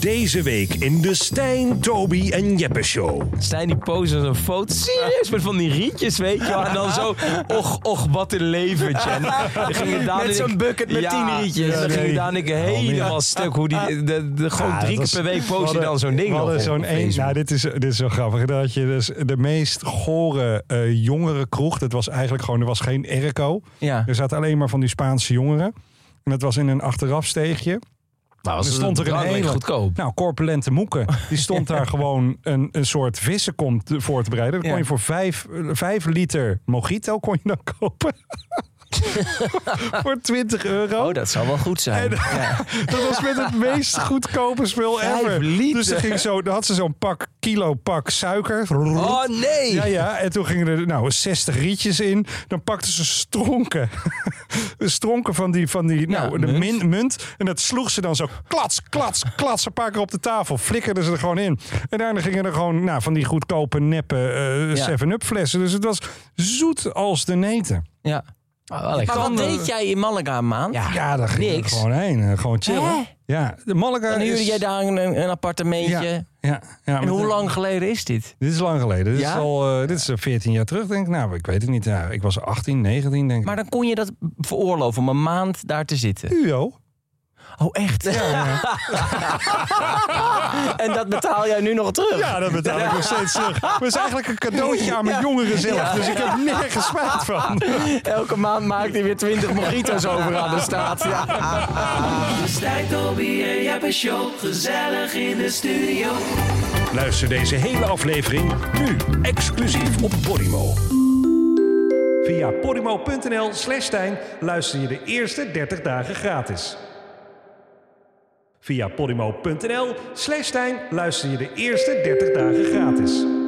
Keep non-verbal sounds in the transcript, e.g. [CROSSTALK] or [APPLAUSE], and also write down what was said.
Deze week in de Stijn, Toby en Jeppe Show. Stijn die pose als een foto. Serieus, met van die rietjes, weet je wel. En dan zo, och, och, wat een leventje. En dan gingen Daan en Met zo'n ik- bucket met Ja, tien rietjes. En dan Nee. Oh, gingen Daan en ik helemaal stuk. Hoe die, de, de, gewoon Ja, drie dat keer is- per we week post hij hadden- dan zo'n ding we nog hadden op zo'n één. Facebook. Nou, dit is, dit is zo grappig. Dat je dus de meest gore eh jongere kroeg. Dat was eigenlijk gewoon, er was geen erco. Ja. Er zaten alleen maar van die Spaanse jongeren. En dat was in een achterafsteegje. Nou, Er stond er een hele goedkoop. Nou, corpulente moeken. Die [LAUGHS] stond daar gewoon een, een soort vissenkom te- voor te bereiden. Dan kon Ja. je voor vijf, eh, vijf liter mojito kon je dan [LAUGHS] kopen. voor 20 euro. Oh, dat zou wel goed zijn. En- Ja. Dat was met het meest goedkope spul Vijf ever. liter. Dus er ging zo, dan had ze zo'n pak, kilo pak suiker. Oh nee! Ja, ja. En toen gingen er nou 60 rietjes in. Dan pakten ze stronken. [LAUGHS] stronken van die, van die Ja, nou, de munt. min, munt. En dat sloeg ze dan zo klats, klats, klats een paar keer op de tafel. Flikkerden ze er gewoon in. En daarna gingen er gewoon nou, van die goedkope, neppe eh, Ja. 7-up flessen. Dus het was zoet als de neten. Ja. Oh, wel lekker. Maar wat deed jij in Malaga, man? Ja, daar ging niks. gewoon heen. Eh, Gewoon chillen. Hè? Ja, de Malaga Dan huurde is... jij daar een, een appartementje. Ja, ja, ja, En maar hoe dit- lang geleden is dit? Dit is lang geleden. Dit, Ja? is al, eh, dit is eh, 14 jaar terug, denk ik. Nou, ik weet het niet. Ja, ik was 18, 19, denk ik. Maar dan kon je dat veroorloven om een maand daar te zitten. Uo? Oh, echt? [LAUGHS] en dat betaal jij nu nog terug? Ja, dat betaal ik nog steeds [LAUGHS] terug. Maar het is eigenlijk een cadeautje aan mijn jongeren zelf. Dus ik heb nergens spijt van. Elke maand maakt hij weer 20 mojito's over aan de straat. Ja. Stijn, Toby en Jeppe Show. Gezellig in de studio. Luister deze hele aflevering nu exclusief op Podimo. Via podimo.nl slash Stijn luister je de eerste 30 dagen gratis. Via podimo.nl slash Stijn luister je de eerste 30 dagen gratis.